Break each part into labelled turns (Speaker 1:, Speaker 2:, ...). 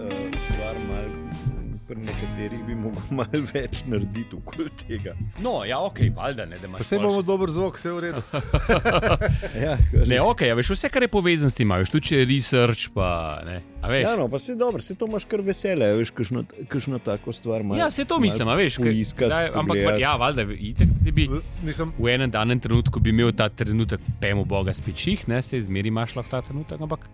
Speaker 1: eh,
Speaker 2: pri nekaterih bi mogel malo več narediti okoli tega.
Speaker 1: No, ja, ok, valjda ne, da imaš.
Speaker 3: Vse
Speaker 1: pol-
Speaker 3: imamo dober zvok, vse je v redu.
Speaker 2: Ja,
Speaker 1: Ne, ok, a veš, vse, kar je povezano s tem, a veš, tudi če je research, pa ne. A veš,
Speaker 2: Ja, no, pa se dobro, se to imaš kar vesele, a veš, kakšno, kakšno tako stvar imaš.
Speaker 1: ja, se to mislim, a veš. kaj-
Speaker 2: Poiskati,
Speaker 1: kdaj- ampak,
Speaker 2: pogledati.
Speaker 1: ja, valjda, itek ti bi.
Speaker 3: Mislim,
Speaker 1: V enem danem trenutku bi imel ta trenutek, pejmo Boga, spečih, ne, se zmeri imaš lahko ta trenutek, ampak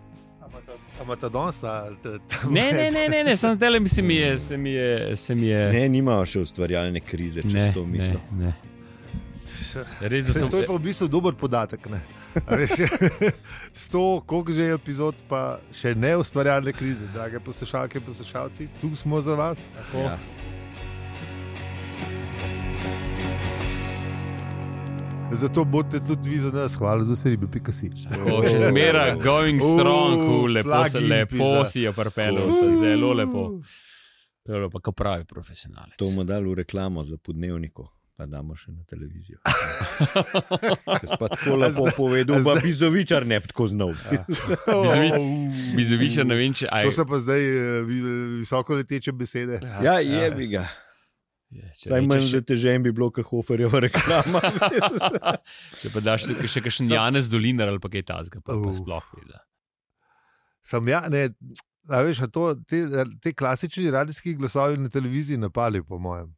Speaker 3: ima ta danes ta. ta- ta-
Speaker 1: Ne, ne, ne, ne, ne sem zdaj le, se mi je, se mi je, se mi je.
Speaker 2: Ne, nimajo še ustvarjalne krize, če
Speaker 1: ne,
Speaker 2: si to misliš.
Speaker 1: ne. Res, da
Speaker 3: Saj
Speaker 1: sem
Speaker 3: To je pa v bistvu dober podatek. ne. A veš, Sto, koliko že je epizod, pa še ne ustvarjalne krize, drage poslušalke, poslušalci, tu smo za vas.
Speaker 2: Ja.
Speaker 3: Zato bodite tudi vi za nas, hvala za vse ribe, pika si.
Speaker 1: tako, še
Speaker 2: Ja.
Speaker 1: zmeraj going strong,
Speaker 3: Uh,
Speaker 1: uh, lepo, se,
Speaker 3: plug in
Speaker 1: lepo
Speaker 3: pizda.
Speaker 1: si je prpelo, sem zelo lepo. To je bilo pa kot pravi profesionalec.
Speaker 2: To bomo dali v reklamo za podnevniko, pa damo še na televizijo. Jaz pa tako lepo povedal, pa bizovičar ne bi tako znal.
Speaker 1: Bizoviča, ne vem, če aj,
Speaker 3: To so pa zdaj eh, vi- visoko leteče besede.
Speaker 2: Ja, je bi ga.
Speaker 1: je, če
Speaker 2: Saj manj
Speaker 1: rečeš-
Speaker 2: zatežen bi bilo, kot hoferjeva reklama.
Speaker 1: Če pa daš nekaj- še kakšen Janez Dolinar ali pa kaj tasga, pa, pa
Speaker 3: Uf.
Speaker 1: sploh ne.
Speaker 3: Sam ja, ne, a veš, a to, te, te klasični radijski glasovi na televiziji napali, po mojem.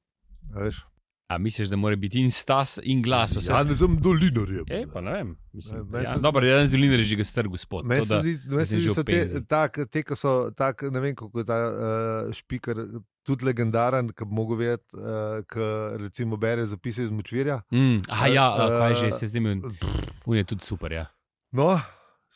Speaker 3: A veš,
Speaker 1: A misliš, da mora biti in stas, in glas, vse
Speaker 3: Ja, ne sem dolinarjem.
Speaker 1: E, pa ne vem. Mislim,
Speaker 3: Meni
Speaker 1: ja,
Speaker 3: se-
Speaker 1: dobro, Janez Dolinar je že ga strgal spod.
Speaker 3: Meni
Speaker 1: tako
Speaker 3: se
Speaker 1: da-
Speaker 3: zdi, meni se
Speaker 1: mislim,
Speaker 3: zdi,
Speaker 1: že
Speaker 3: so
Speaker 1: v
Speaker 3: te,
Speaker 1: penzi.
Speaker 3: tak, te, ki so tak, ne vem, kako je ta uh, špiker, tudi legendaren, ki bi mogel vedeti, uh, ki recimo bere zapise iz močvirja.
Speaker 1: Mm, a ja, a, kaj že,
Speaker 3: Eh,
Speaker 1: se zdaj mi je tudi super. Ja.
Speaker 3: No,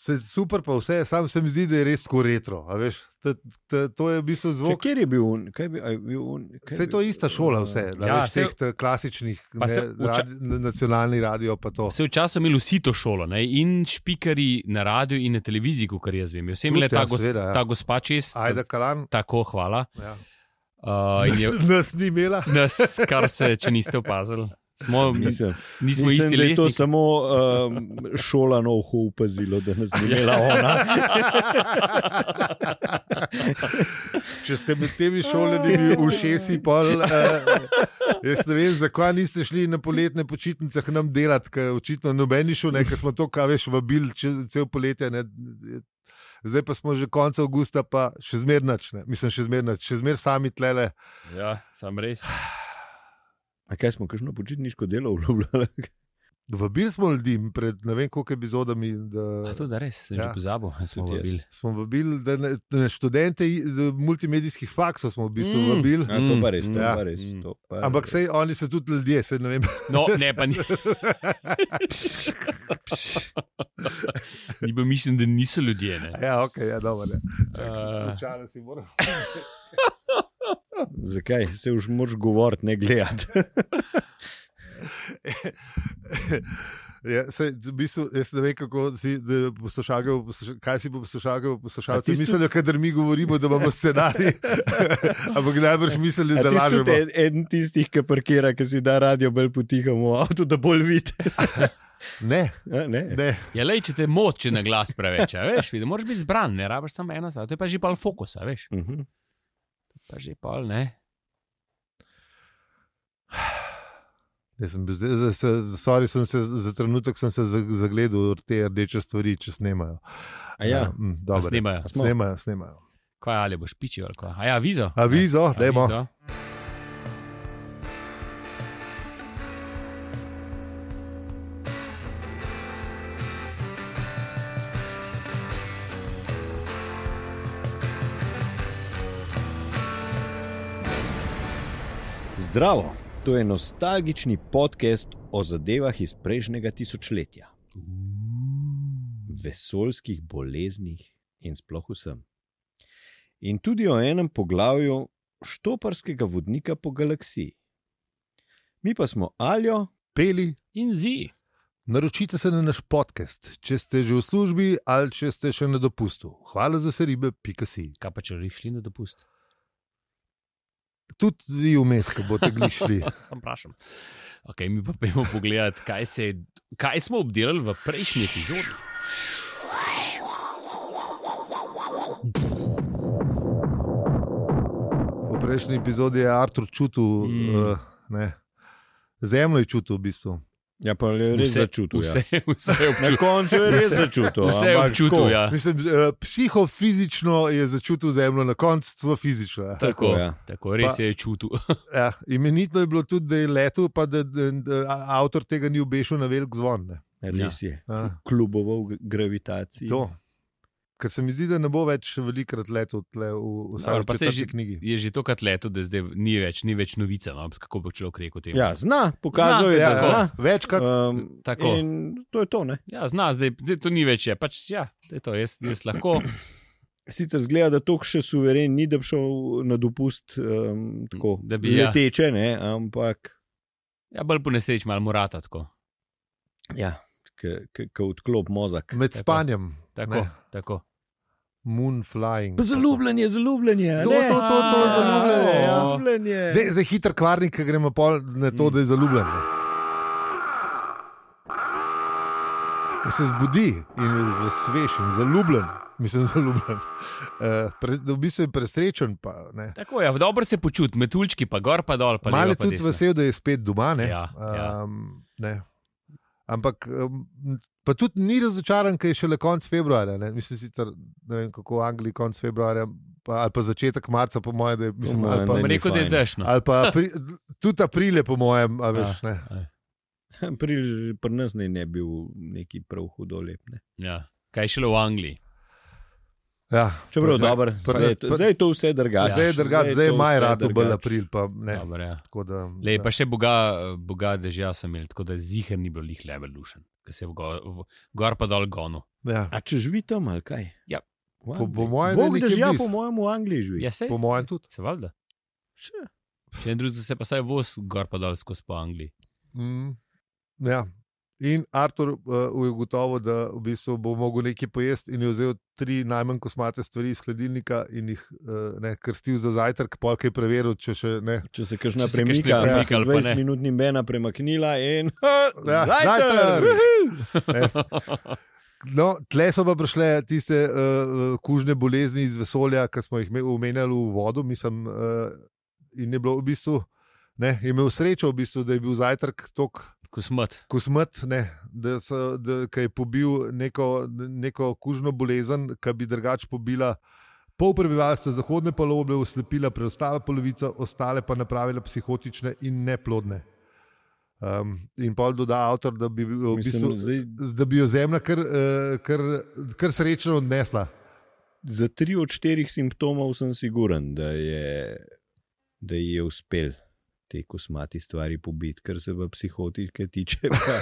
Speaker 3: se, super pa vse, sam se mi zdi, da je res tako retro. a veš. T, t, to je v bistvu
Speaker 2: Če,
Speaker 3: zvok.
Speaker 2: kjer je bil on? Kaj bi, a je bil on kaj
Speaker 3: Vse
Speaker 2: bi-
Speaker 3: to je ista šola, vse,
Speaker 1: Ja,
Speaker 3: ja, veš,
Speaker 1: saj-
Speaker 3: vseh teh klasičnih,
Speaker 1: Pa
Speaker 3: ne,
Speaker 1: se
Speaker 3: se,
Speaker 1: vča-
Speaker 3: radi, nacionalni radio pa to.
Speaker 1: Se je včasih imel vsi to šolo, ne? in špikari na radiju, in na televiziji, kot jaz vem. Vsem
Speaker 3: Tudi,
Speaker 1: le ta,
Speaker 3: ja,
Speaker 1: gos,
Speaker 3: seveda, ja.
Speaker 1: ta gospa čez,
Speaker 3: Ajda Kalan,
Speaker 1: tako hvala.
Speaker 3: ja.
Speaker 1: Uh, in je,
Speaker 3: nas, nas ni imela.
Speaker 1: nas, kar se, če niste opazili, smo, nismo
Speaker 2: Mislim, mislim
Speaker 1: isti
Speaker 2: da je to
Speaker 1: leti.
Speaker 2: samo um, šola na uho upazilo, da nas ni imela ona.
Speaker 3: Če ste med temi šolanimi v šesi, pol, eh, jaz ne vem, zakaj niste šli na poletne počitnice k nam delati, ker očitno nobeni šel, ne, ker smo to, kaj veš, vabili če- cel poletje. Ne. Zdaj pa smo že konec avgusta, pa še zmernač, ne. mislim, še zmernač, še zmer sami tlele.
Speaker 1: Ja, sam res.
Speaker 2: A kaj smo, kakšno počitniško delo obljubljali?
Speaker 3: Vabili smo ljudi pred ne vem koliko epizodami.
Speaker 1: A
Speaker 3: Da,
Speaker 1: to da res, sem ja. že
Speaker 3: Ja.
Speaker 1: pozabil, a smo
Speaker 2: Tudi jaz.
Speaker 1: vabili.
Speaker 3: smo vabili da ne, da ne študente i- da multimedijskih faksov, smo v
Speaker 1: Mm.
Speaker 3: bistvu mm. vabili.
Speaker 2: Ja, to pa res, to
Speaker 3: Ja.
Speaker 2: pa res. To pa
Speaker 3: Ampak
Speaker 2: res.
Speaker 3: sej, oni so tudi ljudje, sej ne vem.
Speaker 1: No, ne, pa ni. ni bil mislim, da niso ljudje. Ne.
Speaker 3: Ja, ok, ja, dobro. Ja.
Speaker 1: Eh.
Speaker 3: Čakaj, Očala si moram.
Speaker 2: Zakaj se už moraš govoriti, ne gledati?
Speaker 3: Ja, sej, v bistvu, jaz ne vem, kako si da poslušalke, bo posluša- kaj si bo poslušalke, bo
Speaker 2: A
Speaker 3: poslušalci
Speaker 2: tisto-
Speaker 3: mislijo, kadar mi govorimo, da imamo scenarij. Ampak najbrž mislijo, da
Speaker 2: Ti si
Speaker 3: lažemo.
Speaker 2: tudi en, eden tistih, ki parkira, ki si da radio bolj potihamo v avtu, da bolj vidi.
Speaker 3: Ne,
Speaker 2: A, ne?
Speaker 3: ne.
Speaker 1: Ja, lej, če te moče na glas preveč, a veš, da moraš biti zbran, ne rabiš samo eno stvar. To je pa že pol fokus, a veš.
Speaker 2: Mhm.
Speaker 1: Pa že pol ne.
Speaker 3: Jaz sem bil zdaj, za, za, za, sorry, sem se, za trenutek sem se za- zagledal v te rdeče stvari, če snemajo.
Speaker 2: A ja.
Speaker 3: mm,
Speaker 1: Pa
Speaker 3: dobro.
Speaker 1: Snemajo.
Speaker 2: smo?
Speaker 3: Snemajo, snemajo.
Speaker 1: Kaj ali boš pičil ali kaj. A ja, vizo.
Speaker 3: Avizo, dajmo.
Speaker 1: Avizo.
Speaker 2: Zdravo, to je nostalgični podcast o zadevah iz prejšnjega tisočletja, vesoljskih boleznih in sploh vsem. In tudi o enem poglavju štoparskega vodnika po galaksiji. Mi pa smo Aljo,
Speaker 3: Peli.
Speaker 1: In zi.
Speaker 3: Naročite se na naš podcast, če ste že v službi ali če ste še na dopustu. Hvala za vse ribe, pika si.
Speaker 1: Kaj pa če bi šli na dopust?
Speaker 3: Tudi vi vmes, ko boste glišli.
Speaker 1: Sam vprašam. Okay, mi pa pojmo pogledat, kaj, se, je- kaj smo obdelali v prejšnji epizodi.
Speaker 3: V prejšnji epizodi je Artur čutil,
Speaker 2: Mm.
Speaker 3: mm. uh, ne, zemljo je čutil v bistvu.
Speaker 2: Ja, pa je res
Speaker 1: Vse-
Speaker 2: začutil.
Speaker 1: Vse,
Speaker 2: Ja.
Speaker 1: vse je
Speaker 2: Na
Speaker 1: občutil.
Speaker 2: koncu je res
Speaker 1: Vse-
Speaker 2: začutil.
Speaker 1: Vse je
Speaker 2: ampak
Speaker 1: občutil,
Speaker 2: tako,
Speaker 1: ja.
Speaker 3: Mislim, eh, psihofizično je začutil zemljo, na koncu celo fizično. ja.
Speaker 1: Tako,
Speaker 2: ja.
Speaker 1: tako res
Speaker 3: Pa-
Speaker 1: pa, je čutil.
Speaker 3: Ja, imenitno je bilo tudi, da je letel, pa da, da, da avtor tega ni obešel na velik zvon. Ne.
Speaker 2: Res je.
Speaker 3: Ja,
Speaker 2: Kluboval v gravitaciji.
Speaker 3: to. Ker se mi zdi, da ne bo več velikrat letel tle v
Speaker 1: Dobro,
Speaker 3: vsaki
Speaker 1: pa saj
Speaker 3: četrti
Speaker 1: že-
Speaker 3: knjigi.
Speaker 1: Je že tokrat leto, da zdaj ni več, ni več novica. No? Kako bi človek rekel temu?
Speaker 2: Ja, zna, pokazal zna, je, da
Speaker 1: ja,
Speaker 2: zna.
Speaker 3: večkrat.
Speaker 2: Um,
Speaker 1: Tako.
Speaker 2: in to je to. Ne?
Speaker 1: ja zna, zdaj, zdaj to ni več. Je. Pač, ja, to je to, jaz, jaz lahko.
Speaker 2: Sicer zgleda, da to še suveren ni, da bi šel na dopust um, tako
Speaker 1: Da bi, ja.
Speaker 2: leteče, ne? ampak
Speaker 1: Ja, bolj po nesreči, malo morata. Tako.
Speaker 2: ja, kot odklop mozak.
Speaker 3: Med
Speaker 1: tako.
Speaker 3: spanjem.
Speaker 1: Tako,
Speaker 3: Ne.
Speaker 1: tako.
Speaker 3: Moon flying.
Speaker 2: Pa Zaljubljen je, zaljubljen je.
Speaker 3: To,
Speaker 2: ne?
Speaker 3: to, to, to je
Speaker 2: A,
Speaker 3: zaljubljen je, ja.
Speaker 2: Zaljubljen je.
Speaker 3: Dej, zdaj hiter kvarnik, ki gremo pol na to,
Speaker 1: Mm.
Speaker 3: da je zaljubljen. ne. Ko se zbudi in je v- svež in zaljubljen, mislim, zaljubljen. Uh, pre, v bistvu je presrečen. Pa, ne.
Speaker 1: tako ja, dobro se počuti, metulčki pa gor, pa dol. Pa
Speaker 3: Malo je
Speaker 1: levo, pa
Speaker 3: tudi
Speaker 1: desno.
Speaker 3: vesel, da je spet doma. Ne?
Speaker 1: Ja, ja.
Speaker 3: Um, ne. Ampak um, pa tudi ni razočaran, ker je šele konec februarja. Ne? Mislim, sicer, ne vem, kako v Angliji konec februarja pa, ali pa začetek marca, po mojem, da je mislim,
Speaker 2: moje
Speaker 3: ali pa,
Speaker 2: ne
Speaker 1: Bom
Speaker 2: ni
Speaker 1: rekel, da je
Speaker 2: fajn.
Speaker 1: dežno.
Speaker 3: ali pa pri, tudi aprile, po mojem, a veš. Ne?
Speaker 2: Pri, pri nas naj ne bi bil neki prav hudo lep. Ne?
Speaker 1: Ja. Kaj šele v Angliji?
Speaker 3: Ja,
Speaker 2: Čeprav
Speaker 3: pa-
Speaker 2: dobro,
Speaker 3: pa-
Speaker 2: Torej, zdaj, je to-
Speaker 3: pa-
Speaker 2: zdaj je to vse drugače.
Speaker 3: zdaj je drugače, zdaj je
Speaker 2: to
Speaker 3: maj
Speaker 2: vse
Speaker 3: rado bolj
Speaker 2: drugače.
Speaker 3: april. Pa, ne,
Speaker 1: Dobar, ja.
Speaker 3: tako da,
Speaker 1: Lej,
Speaker 3: ja.
Speaker 1: pa še boga, boga dežja sem imel, tako da zihar ni bil lih level dušen, ki se je v go- v- gor pa dol gonu.
Speaker 3: Ja.
Speaker 2: A če živi tam ali kaj?
Speaker 1: Ja.
Speaker 2: V
Speaker 3: Po- po
Speaker 2: Angliji.
Speaker 3: mojem, da
Speaker 2: Bog
Speaker 3: nekje
Speaker 2: dežja,
Speaker 3: blizu.
Speaker 2: po mojem, v Angliji živi.
Speaker 1: Ja, se,
Speaker 3: Po mojem tudi.
Speaker 1: se valjda.
Speaker 2: Še.
Speaker 1: Če ne drugega, se pa saj voz gor pa dol skozi po Angliji.
Speaker 3: Mm, ja. In Artur uh, je ugotovil, da v bistvu bo mogel nekaj pojesti, in je vzel tri najmanj kosmate stvari iz hladilnika in jih uh, ne, krstil za zajtrk, polk je preveril, če še ne.
Speaker 2: Če se kažna
Speaker 1: Če se kakšna
Speaker 2: premika,
Speaker 1: premika
Speaker 2: ja, sem
Speaker 1: ali pa
Speaker 2: 20
Speaker 1: ne.
Speaker 2: minut ni mena premaknila in
Speaker 3: Ja, zajtrk!
Speaker 2: zajtrk! Uhuh! Uhu!
Speaker 3: ne. No, tle so pa prišle tiste uh, kužne bolezni iz vesolja, ki smo jih me- omenjali v vodu, mislim, uh, in je bilo v bistvu. Ne, je imel srečo, v bistvu, da je bil zajtrk tako
Speaker 1: Ko smrt.
Speaker 3: kosmet, ne, da, so, da ki je pobil neko, neko kužno bolezen, ki bi drugače pobila pol prebivalstva zahodne poloble, oslepila preostalo polovico, ostale pa napravila psihotične in neplodne. Um, in pol doda avtor, da bi, bil v
Speaker 2: Mislim,
Speaker 3: bistvu,
Speaker 2: zdaj,
Speaker 3: da bi jo zemlja kar, eh, kar, kar srečno odnesla.
Speaker 2: za tri od štirih simptomov sem siguren, da je, da ji je uspel te kosmati stvari pobiti, kar se v psihotike tiče. Pa,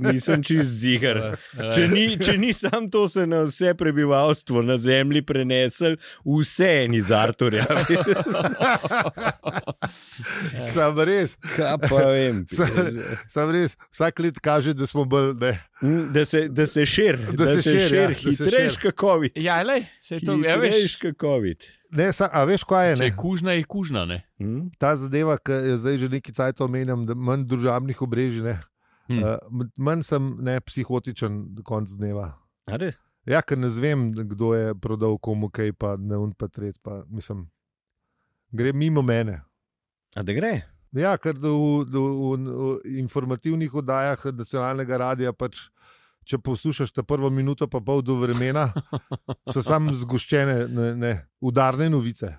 Speaker 2: nisem čist zihar.
Speaker 1: Eh,
Speaker 2: Če ni, če ni sam to se na vse prebivalstvo na zemlji prenesel, vse je ni zartorja.
Speaker 1: Ja.
Speaker 3: Sam res,
Speaker 2: Kaj pa vem.
Speaker 3: sam res, vsak let kaže, da smo bolj. Ne,
Speaker 2: Hm, Da se, da se širi, da, da se, se širi,
Speaker 3: ja,
Speaker 2: ja,
Speaker 3: da se
Speaker 2: hitrejš
Speaker 3: širi.
Speaker 2: kakovi.
Speaker 1: Ja, le, se je to, ja,
Speaker 2: Hitrejš
Speaker 1: veš.
Speaker 2: kakovi.
Speaker 3: ne, sa, a veš, kaj je?
Speaker 1: Če
Speaker 3: Ne?
Speaker 1: je kužna, je kužna, ne.
Speaker 2: Hm?
Speaker 3: ta zadeva, ki jo zdaj že nekaj časa omenjam, da manj družabnih obrežij, ne,
Speaker 1: Hm.
Speaker 3: uh, manj sem ne, psihotičen do konca dneva.
Speaker 2: A res?
Speaker 3: Ja, ker ne vem, kdo je prodal komu kaj, pa ne un pa tret, pa mislim, gre mimo mene.
Speaker 2: A da gre?
Speaker 3: Ja, ker da v, da v, v informativnih oddajah nacionalnega radia pač. Če poslušaš ta prvo minuto, pa pol do vremena, so samo zgoščene, ne, ne, udarne novice.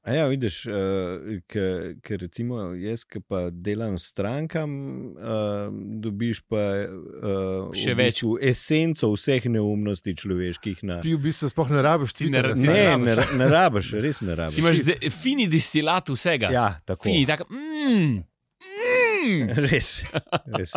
Speaker 2: A ja, vidiš, uh, ker recimo jaz, ki pa delam s strankam, uh, dobiš pa uh,
Speaker 1: Še
Speaker 2: v
Speaker 1: več.
Speaker 2: bistvu esenco vseh neumnosti človeških. Na...
Speaker 3: Ti v bistvu sploh ne rabiš,
Speaker 1: Ti ne ra-
Speaker 3: Twitterja, saj.
Speaker 2: Ne,
Speaker 1: rabiš.
Speaker 2: ne, ra- ne rabiš, res ne
Speaker 3: Ja,
Speaker 1: Ti
Speaker 2: rabiš.
Speaker 1: Imaš zdaj fini destilat vsega.
Speaker 2: Ja, tako.
Speaker 1: fini, tako. Mm, mm,
Speaker 2: Res, res.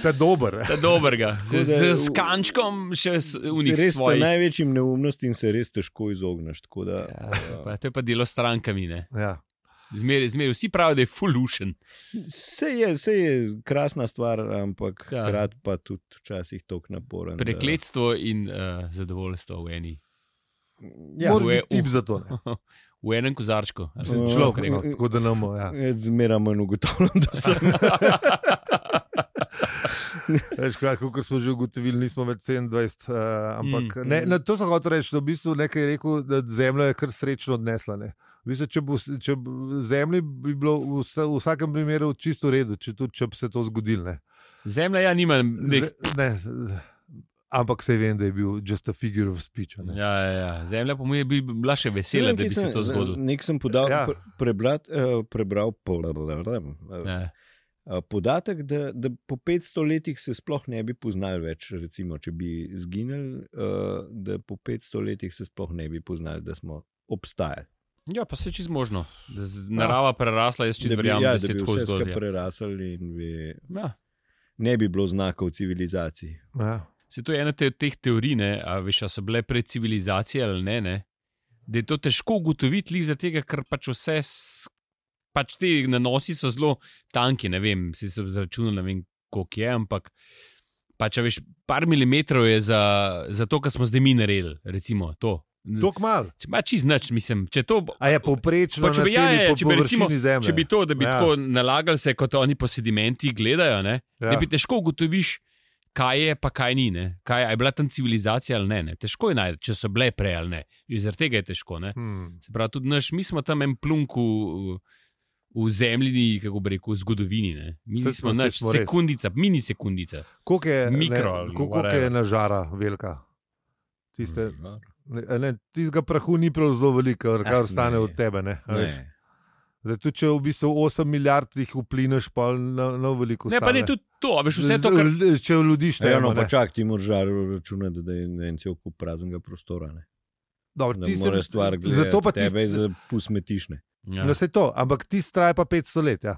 Speaker 3: ta dober.
Speaker 1: ta dobrega.
Speaker 2: Tako
Speaker 1: Z,
Speaker 2: da v-
Speaker 1: z skančkom še s- v njih
Speaker 2: Res ta
Speaker 1: svojih.
Speaker 2: največjim neumnostim se res težko izogneš. tako Da,
Speaker 1: Ja, pa, to je pa delo s strankami. ne.
Speaker 3: Ja.
Speaker 1: Zmeraj, zmeraj vsi pravijo, da je fulušen.
Speaker 2: Vse je, se je krasna stvar, ampak
Speaker 1: Ja.
Speaker 2: hkrati pa tudi včasih tako naporen. da-
Speaker 1: Prekletstvo in uh, zadovoljstvo v, eni,
Speaker 2: Ja,
Speaker 3: Mora
Speaker 1: v
Speaker 3: biti
Speaker 1: EU.
Speaker 3: tip za to. ne.
Speaker 1: v enem kozarčku. A sem
Speaker 2: Ja.
Speaker 1: človek
Speaker 3: Človek, no,
Speaker 1: rekel.
Speaker 3: tako da nam je. Ja.
Speaker 1: Ah,
Speaker 2: Zmeraj manj ugotavljam, da sem.
Speaker 3: Veš, kaj, kot smo že ugotovili, nismo več 27. Uh, ampak
Speaker 1: Mm,
Speaker 3: mm, ne,
Speaker 2: mm.
Speaker 3: na to sem hotel reči, da v bistvu nekaj je rekel, da zemljo je kar srečno odnesla. Ne. V bistvu, če bo s- če bo- zemlji bi bilo v, vse, v vsakem primeru čisto v redu, če, tudi, če bi se to zgodilo. Ne.
Speaker 1: Zemlja ja nima nek
Speaker 3: Z- ne, z- ampak se vem, da je bil just a figure of speech. a ne.
Speaker 1: Ja, ja, ja. Zemlja pa mu je bi- bila še
Speaker 2: Ja,
Speaker 1: vesela, da bi se to zgodilo.
Speaker 2: Nek sem podal, ja.
Speaker 3: Ja.
Speaker 2: pre, prebrat, uh, prebral pol- eh,
Speaker 1: Ja.
Speaker 2: eh, podatek, da, da po 500 letih se sploh ne bi poznali več. Recimo, če bi izginili, uh, da po 500 letih se sploh ne bi poznali, da smo obstajali.
Speaker 1: ja, pa se je čisto možno. Da z- Narava prerasla, jaz čisto
Speaker 2: bi,
Speaker 1: verjamem,
Speaker 2: ja, da
Speaker 1: da se je
Speaker 2: bi
Speaker 1: tako
Speaker 2: vse skupaj
Speaker 1: zgodilo.
Speaker 2: prerasali in bi,
Speaker 1: Ja. Ja.
Speaker 2: ne bi bilo znakov civilizacij.
Speaker 3: Ja.
Speaker 1: Se to je ena te, od teh teorij, ne, a veš, a so bile pred civilizacijo ali ne, ne. Da je to težko ugotoviti, lih zato, ker pač vse, s- pač te nanosi so zelo tanki, ne vem, si se izračunal, ne vem, koliko je, ampak pač, a veš, par milimetrov je za, za to, kar smo zdaj mi naredili, recimo to.
Speaker 3: Tok mal.
Speaker 1: Če ima čist nič, mislim, če to.
Speaker 3: A je povprečno,
Speaker 1: Pa če
Speaker 3: na
Speaker 1: bi- ja,
Speaker 3: celi
Speaker 1: ja, ja,
Speaker 3: po-
Speaker 1: če bi recimo-
Speaker 3: površini zemlje.
Speaker 1: Če bi to, da bi ja.
Speaker 3: Ja.
Speaker 1: tako nalagali se, kot oni po sedimentih gledajo, ne, Ja.
Speaker 3: ja.
Speaker 1: Ne bi težko ugotoviš, kaj je, pa kaj ni. ne. Kaj, a je bila tam civilizacija ali ne, ne. Težko je najti, če so bile prej ali ne. In Zaradi tega je težko. Ne.
Speaker 3: Hmm.
Speaker 1: Se pravi, tudi naš, mi smo tam en plunk v, v zemljini, kako bi rekel, v zgodovini. Ne. Mi
Speaker 3: Saj
Speaker 1: smo
Speaker 3: smo, saj
Speaker 1: naš
Speaker 3: smo res.
Speaker 1: sekundica, mini sekundica.
Speaker 3: Koliko je,
Speaker 1: Mikro
Speaker 3: ne,
Speaker 1: ali
Speaker 3: ko- koliko
Speaker 1: whatever. Hmm.
Speaker 3: je nažara velika? Tiste,
Speaker 2: Mm,
Speaker 3: ne, ne, tistega prahu ni prav zelo veliko, kar
Speaker 2: Ah,
Speaker 3: ostane
Speaker 2: ne.
Speaker 3: od tebe. Ne, a veš.
Speaker 2: Ne.
Speaker 3: Zdaj, tudi če v bistvu 8 milijard jih uplineš, pa na, na veliko
Speaker 1: Ne, pa
Speaker 3: stane.
Speaker 1: ne tudi to, a veš vse to, kar.
Speaker 3: L- Če ljudi
Speaker 2: Ja, no,
Speaker 3: štejemo,
Speaker 2: pa čak ti moraš računati, da je ne en cel kup praznega prostora. Ne.
Speaker 3: Dobro,
Speaker 2: Da
Speaker 3: ti se-
Speaker 2: mora stvar gledati.
Speaker 3: Zato pa ti
Speaker 2: tebe eh, za pusmetišne.
Speaker 1: Ja.
Speaker 3: No, se to, ampak ti traja pa 500 let. Ja.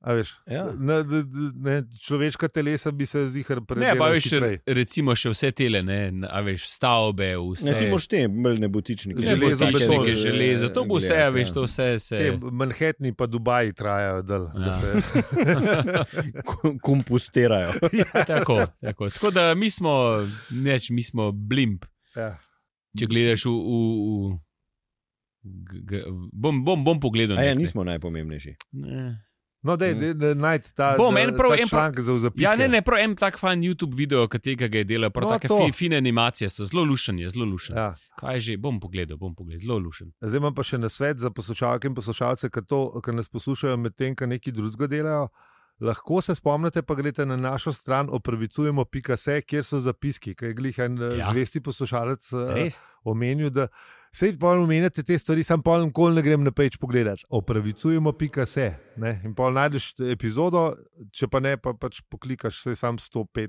Speaker 3: A veš,
Speaker 2: Ja.
Speaker 3: na, d- d- ne, človeška telesa bi se zihar
Speaker 1: Ne, pa veš,
Speaker 3: predvsej.
Speaker 1: recimo še vse tele, ne, na- a veš, stavbe, vse.
Speaker 2: Ne, ti boš te, bolj nebotičniki.
Speaker 1: Ne,
Speaker 3: železo,
Speaker 1: botičnike,
Speaker 3: beton, eh,
Speaker 1: železo, to
Speaker 2: Ja,
Speaker 1: bo vse, a veš, to vse se.
Speaker 3: Te Manhattan pa Dubaj trajajo dal.
Speaker 1: Ja.
Speaker 3: Ja. Se,
Speaker 2: Kompostirajo.
Speaker 1: Tako, tako. tako da mi smo, neč, mi smo blimp.
Speaker 3: ja.
Speaker 1: Če gledaš v. v, v g, g, bom, bom, bom pogledal.
Speaker 2: A ja,
Speaker 1: nekaj.
Speaker 2: nismo najpomembnejši.
Speaker 1: Ne.
Speaker 3: No, dej,
Speaker 2: Mm.
Speaker 3: dej, dej, najd ta,
Speaker 1: Bom,
Speaker 3: ta,
Speaker 1: en prav-
Speaker 3: ta
Speaker 1: en prav-
Speaker 3: članek za zapis.
Speaker 1: Ja, ne, ne, prav en tak fan YouTube video, ki tega ga je delal, prav
Speaker 3: No,
Speaker 1: no, take
Speaker 3: to.
Speaker 1: fi, fine animacije so zelo lušen, je zelo lušen. Ja.
Speaker 3: Ja.
Speaker 1: Kaj je že, bom pogledal, bom pogledal, zelo lušen.
Speaker 3: Zdaj imam pa še na svet za poslušalke in poslušalce, ki, to, ki nas poslušajo medtem, ko neki drugega delajo. Lahko se spomnite, pa greste na našo stran opravicujemo.se, kjer so zapiski, ki je glih en
Speaker 1: Ja.
Speaker 3: ja. zvesti poslušalec eh,
Speaker 1: Res?
Speaker 3: omenil, da se jih pol omenjate te stvari, sam pol nikoli ne grem na peč pogledat. Opravicujemo, pika se. Ne? In pol najdeš epizodo, če pa ne, pa pač poklikaš, se sam 105,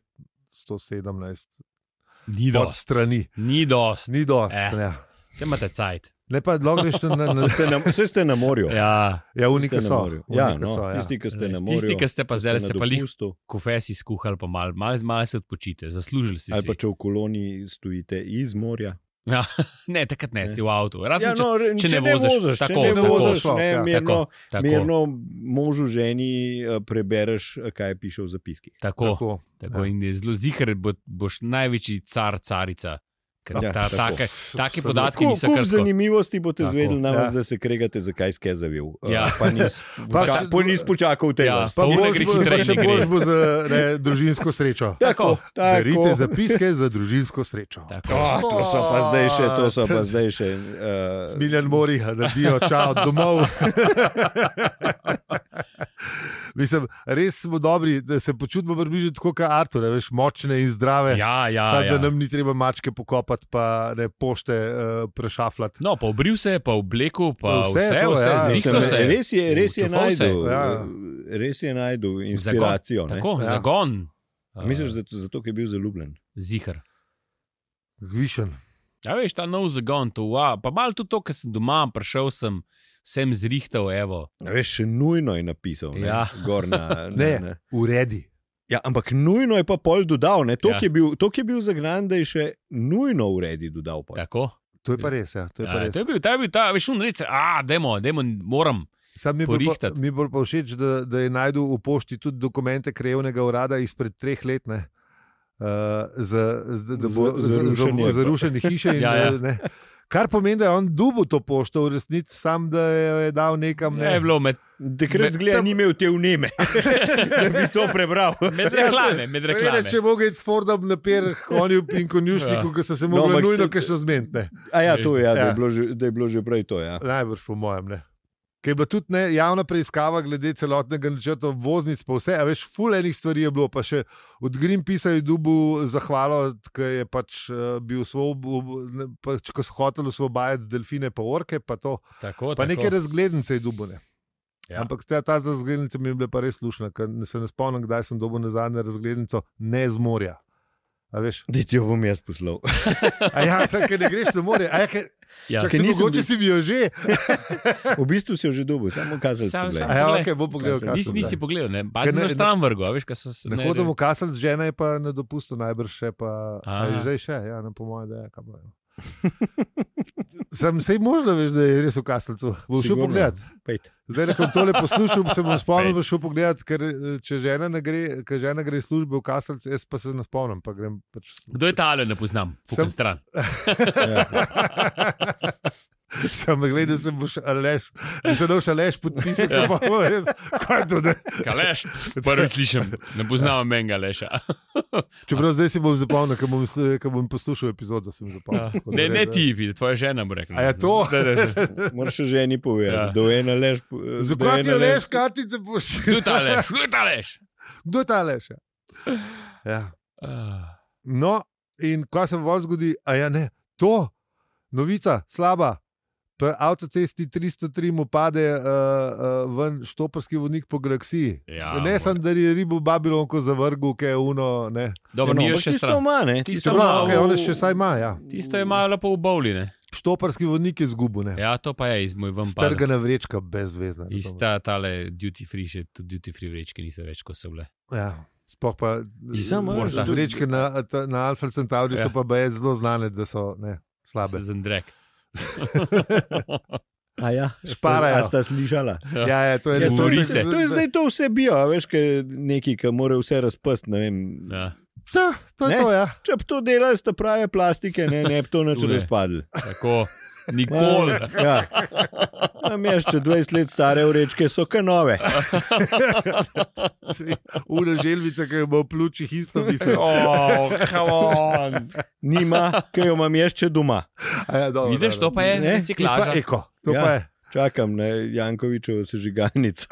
Speaker 3: 117
Speaker 1: Ni
Speaker 3: od
Speaker 1: dost,
Speaker 3: strani.
Speaker 1: ni dost,
Speaker 3: Ni dost.
Speaker 1: Eh.
Speaker 3: Eh. Ne.
Speaker 1: se imate cajt.
Speaker 3: ne pa dolgo greš na, na, na
Speaker 2: Ste na- Vse ste na morju.
Speaker 1: Ja.
Speaker 3: ja,
Speaker 2: Ste
Speaker 3: unike
Speaker 2: na
Speaker 3: so.
Speaker 2: morju. Ja,
Speaker 3: Unike
Speaker 2: no,
Speaker 3: so, ja.
Speaker 2: tisti, ki ste na morju.
Speaker 1: Tisti, ki ste pa zdaj se
Speaker 2: na
Speaker 1: pa lih
Speaker 2: dopustu,
Speaker 1: kofesi skuhali, pa malo mal, mal se odpočite, zaslužili ste
Speaker 2: Ali
Speaker 1: si.
Speaker 2: pa če v koloni stojite iz morja.
Speaker 1: Ja, ne, takrat ne,
Speaker 2: Ne.
Speaker 1: si v avtu. Razen, če-
Speaker 2: re-
Speaker 1: če ne voziš, tako,
Speaker 2: če ne
Speaker 3: tako.
Speaker 2: no, voziš,
Speaker 3: Tako,
Speaker 2: ne,
Speaker 3: ja.
Speaker 2: mirno,
Speaker 1: tako,
Speaker 2: mirno možu ženi eh, prebereš, eh, kaj piše v zapiskih.
Speaker 1: tako, tako.
Speaker 3: Tako.
Speaker 1: Tako,
Speaker 3: Ja.
Speaker 1: in je zelo zihar, bo, boš največji car, carica.
Speaker 2: Ja,
Speaker 1: Ja, ta,
Speaker 2: tako.
Speaker 1: take, take
Speaker 3: Absolutno.
Speaker 1: podatke
Speaker 2: Kup,
Speaker 1: niso
Speaker 2: kup
Speaker 1: kar tako.
Speaker 2: zanimivosti boste
Speaker 1: Tako.
Speaker 2: izvedeli, na vas,
Speaker 3: Ja.
Speaker 2: da se kregate, zakaj ste zavil. Eh,
Speaker 1: Ja.
Speaker 2: Pa nis-
Speaker 3: Pa
Speaker 2: ča-
Speaker 3: še-
Speaker 2: po- nis počakal tega.
Speaker 1: Ja.
Speaker 3: Pa
Speaker 1: Stavne
Speaker 3: boš
Speaker 1: gre
Speaker 3: bo- pa
Speaker 1: hitreje, ne
Speaker 3: še
Speaker 1: gre.
Speaker 3: boš bo za ne, družinsko srečo.
Speaker 2: Tako,
Speaker 3: Berite
Speaker 2: Ja, tako.
Speaker 3: zapiske za družinsko srečo.
Speaker 1: Tako.
Speaker 2: Ah, to so pa zdaj še, to so pa zdaj še. eh,
Speaker 3: Smiljan mori, da dijo čao domov. Mislim, res smo dobri, da se počutimo približno tako kot Artur, a veš, močne in zdrave.
Speaker 1: Ja, ja,
Speaker 3: Sad,
Speaker 1: ja.
Speaker 3: da nam ni treba mačke pokopati, pa ne pošte uh, prešafljati.
Speaker 1: No, pa obril se je, pa oblekel, pa
Speaker 3: To
Speaker 1: vse,
Speaker 3: vse,
Speaker 1: vse,
Speaker 3: to,
Speaker 1: vse
Speaker 3: ja.
Speaker 1: zvihtal
Speaker 2: Mislim,
Speaker 1: se je.
Speaker 2: Res je, res je
Speaker 1: Učufal se je.
Speaker 2: najdel, eh,
Speaker 3: Ja.
Speaker 2: res je najdel inspiracijo. ne.
Speaker 1: Tako,
Speaker 3: Ja.
Speaker 1: zagon.
Speaker 2: A Misliš, da je to zato, ker je bil zaljubljen?
Speaker 1: Zihar.
Speaker 3: Višen.
Speaker 1: Ja, veš, ta nov zagon, to wow. Pa malo tudi to, ker sem doma, prišel sem, sem zrihtal, evo.
Speaker 2: A Veš, še nujno je napisal. Ne?
Speaker 1: Ja.
Speaker 2: Gor na,
Speaker 3: Ne.
Speaker 2: na, na.
Speaker 3: Uredi.
Speaker 2: Ja, ampak nujno je pa pol dodal. ne. Tok
Speaker 1: Ja.
Speaker 2: je, bil- tok je bil zagnan, da je še nujno uredi dodal. pol.
Speaker 1: Tako.
Speaker 3: To je pa res. Ja, to je pa
Speaker 1: Ja,
Speaker 3: res.
Speaker 1: to je bil, ta je bil ta, veš, un reče, a, demo, demo, moram.
Speaker 3: Sam mi je bolj pa-
Speaker 1: Porihtati.
Speaker 3: mi je bolj pa všeč, da, da je najdel v pošti tudi dokumente krajevnega urada izpred treh let. Ne? Uh, za, za, da
Speaker 2: Za-
Speaker 3: bo
Speaker 2: za
Speaker 3: za, za,
Speaker 2: rušenje.
Speaker 3: za rušene hiše. In,
Speaker 1: Ja,
Speaker 3: ja,
Speaker 1: ja.
Speaker 3: ja. Ne, Kar pomeni, da je on dubu to pošto, v resnici sam, da jo je dal nekam.
Speaker 1: Ne je
Speaker 3: Ne.
Speaker 1: bilo med,
Speaker 2: Takrat
Speaker 1: Me-
Speaker 2: zgleda,
Speaker 3: tam-
Speaker 2: ni imel te vneme, da bi to prebral.
Speaker 3: Ja,
Speaker 1: med reklame. Med reklame. Ja.
Speaker 3: Seveda, če mogo iti s Fordom na per, honju in konjušniku, ki so se
Speaker 2: No,
Speaker 3: mogli
Speaker 2: ampak
Speaker 3: no, nujno
Speaker 2: to-
Speaker 3: kaj še zmeniti. ne.
Speaker 2: A ja, to je, ja, da,
Speaker 3: Ja.
Speaker 2: je bilo že, da je bilo že prej to. Ja.
Speaker 3: Najbrž po mojem. Ne. Ker je bila tudi ne, javna preiskava glede celotnega načrta voznic, pa vse, a veš, fulejnih stvari je bilo, pa še od Greenpeacea je dubu zahvalo, ker je pač uh, bil svob, pač, ko so hoteli osvobajati delfine, pa orke, pa to.
Speaker 1: Tako, tako.
Speaker 3: Pa neke razglednice je dubone.
Speaker 1: Ja.
Speaker 3: Ja. Ampak ta, ta za razglednice mi je bila pa res slušna, ker ne- se ne spomnim, kdaj sem dobil na zadnje razglednico, ne z morja. A veš,
Speaker 2: Da ti jo bom jaz poslal.
Speaker 3: a ja, sem, ker ne greš na morje. A Ja, ker,
Speaker 1: Ja.
Speaker 3: čak,
Speaker 2: Ker
Speaker 3: se,
Speaker 2: nisem
Speaker 3: mogoče
Speaker 2: bil-
Speaker 3: si bil jo že.
Speaker 2: V bistvu si jo že dobil, samo kazal si.
Speaker 1: Sam-
Speaker 3: A
Speaker 2: poglej.
Speaker 1: sam-
Speaker 3: Ja,
Speaker 1: Poglej.
Speaker 3: ok, bo pogledal,
Speaker 2: Kaj se-
Speaker 3: kaj
Speaker 1: Nisi,
Speaker 3: sem.
Speaker 1: nisi
Speaker 3: kdaj.
Speaker 1: pogledal, ne,
Speaker 3: Ker
Speaker 1: bazen
Speaker 3: ne-
Speaker 1: na
Speaker 3: ne-
Speaker 1: stran vrgo, a veš, kaj so se
Speaker 3: Ne hodimo kasati, žena je pa na dopustu, najbrž še pa.
Speaker 1: Aha.
Speaker 3: a je Zdaj še, ja, ne po mojem, da je kam. Sem sej možno, veš, da je res v kaselcu. Bo šel
Speaker 2: Sigurno.
Speaker 3: pogledat.
Speaker 2: Pejte.
Speaker 3: Zdaj, ko sem tole poslušal, sem se spomnil, da šel pogledat, ker eh, če žena, ne gre, ker žena gre iz službe v Kaselc, jaz pa se ne spomnim. Pa grem, pač...
Speaker 1: Kdo je ta ali ne poznam,
Speaker 3: Sem-
Speaker 1: fucking stran.
Speaker 2: Ja,
Speaker 3: Sam gledal, sem boš aleš, da se noš aleš podpisati, ja. pa bo res, kaj to da.
Speaker 1: Kaleš, prvi slišim, ne poznam menga leša.
Speaker 3: Čeprav zdaj si bom zapomnil, ker bom, s- ko bom poslušal epizodo, sem zapomnil. tako da
Speaker 1: Ne,
Speaker 3: res,
Speaker 1: ne
Speaker 3: da-
Speaker 1: ti, vidi, tvoja žena bo rekla.
Speaker 3: A je to?
Speaker 1: Da, da, da.
Speaker 2: Moraš še ženi povedati,
Speaker 1: Ja.
Speaker 2: ja. da je ena lež.
Speaker 3: Zakaj ti aleš, katice boš?
Speaker 1: Kdo je ta leš? Kdo je ta leš?
Speaker 3: Kdo je ta aleš? Ja.
Speaker 1: Ah,
Speaker 3: No, in ko se vam zgodi, a ja ne, to, novica, slaba. Pri avtocesti 303 mu pade uh, uh, ven štoparski vodnik po galaksiji.
Speaker 1: Ja,
Speaker 3: ne,
Speaker 1: more.
Speaker 3: sem da je ribo Babilonko zavrgel, ki je uno. Ne. no,
Speaker 1: Dobro, ni jo še
Speaker 2: Ja, no, Tisto
Speaker 1: stran.
Speaker 2: ima, ne?
Speaker 1: Tisto
Speaker 3: Čeprav,
Speaker 1: ima,
Speaker 3: okay, ona še saj ima. Ja.
Speaker 1: Tisto je malo po obovline.
Speaker 3: Štoparski vodnik je zgubil. ne.
Speaker 1: Ja, to pa je iz moj vam pa.
Speaker 3: Strgana vrečka, brezvezna. ne vem.
Speaker 1: Ista tale duty free, še tudi duty free vrečke niso več, kot so bile.
Speaker 3: Ja. Sploh pa
Speaker 2: Ti samo
Speaker 3: eh,
Speaker 1: moraš, da-
Speaker 3: vrečke na, ta- na Alfa Centauri
Speaker 1: Ja.
Speaker 3: so pa baje zelo znane, da so ne, slabe.
Speaker 1: Zendrek.
Speaker 2: A ja,
Speaker 3: Šparajo.
Speaker 2: Šparajo. Sta slišala.
Speaker 3: Ja, ja, to je
Speaker 2: Ja,
Speaker 3: res.
Speaker 2: to,
Speaker 1: Govori
Speaker 2: je,
Speaker 1: se.
Speaker 2: to je zdaj to vse bio, a veš, kaj neki, ki mora vse razpust. ne vem.
Speaker 1: Ja,
Speaker 3: Ja, To je
Speaker 2: Ne.
Speaker 3: to, ja.
Speaker 2: Če bi to delali, sta prave plastike, ne, ne bi to nič
Speaker 1: Tule.
Speaker 2: razpadli.
Speaker 1: tako. Nikoli.
Speaker 2: Ja. Tam je še 20 let stare vrečke, so kanove.
Speaker 3: Ura želvica, ki jo bo v pljučih isto
Speaker 2: Ja.
Speaker 3: mislil.
Speaker 1: Oh, come on.
Speaker 2: Nima, ki jo imam jaz še doma.
Speaker 3: A Ja, dobro,
Speaker 1: Vidiš, to
Speaker 3: dobro.
Speaker 1: pa je
Speaker 2: Ne,
Speaker 3: Tisto
Speaker 1: reciklaža.
Speaker 3: pa eko, to
Speaker 2: Ja.
Speaker 3: ja. pa je.
Speaker 2: Čakam na Jankovičevo sežigalnico.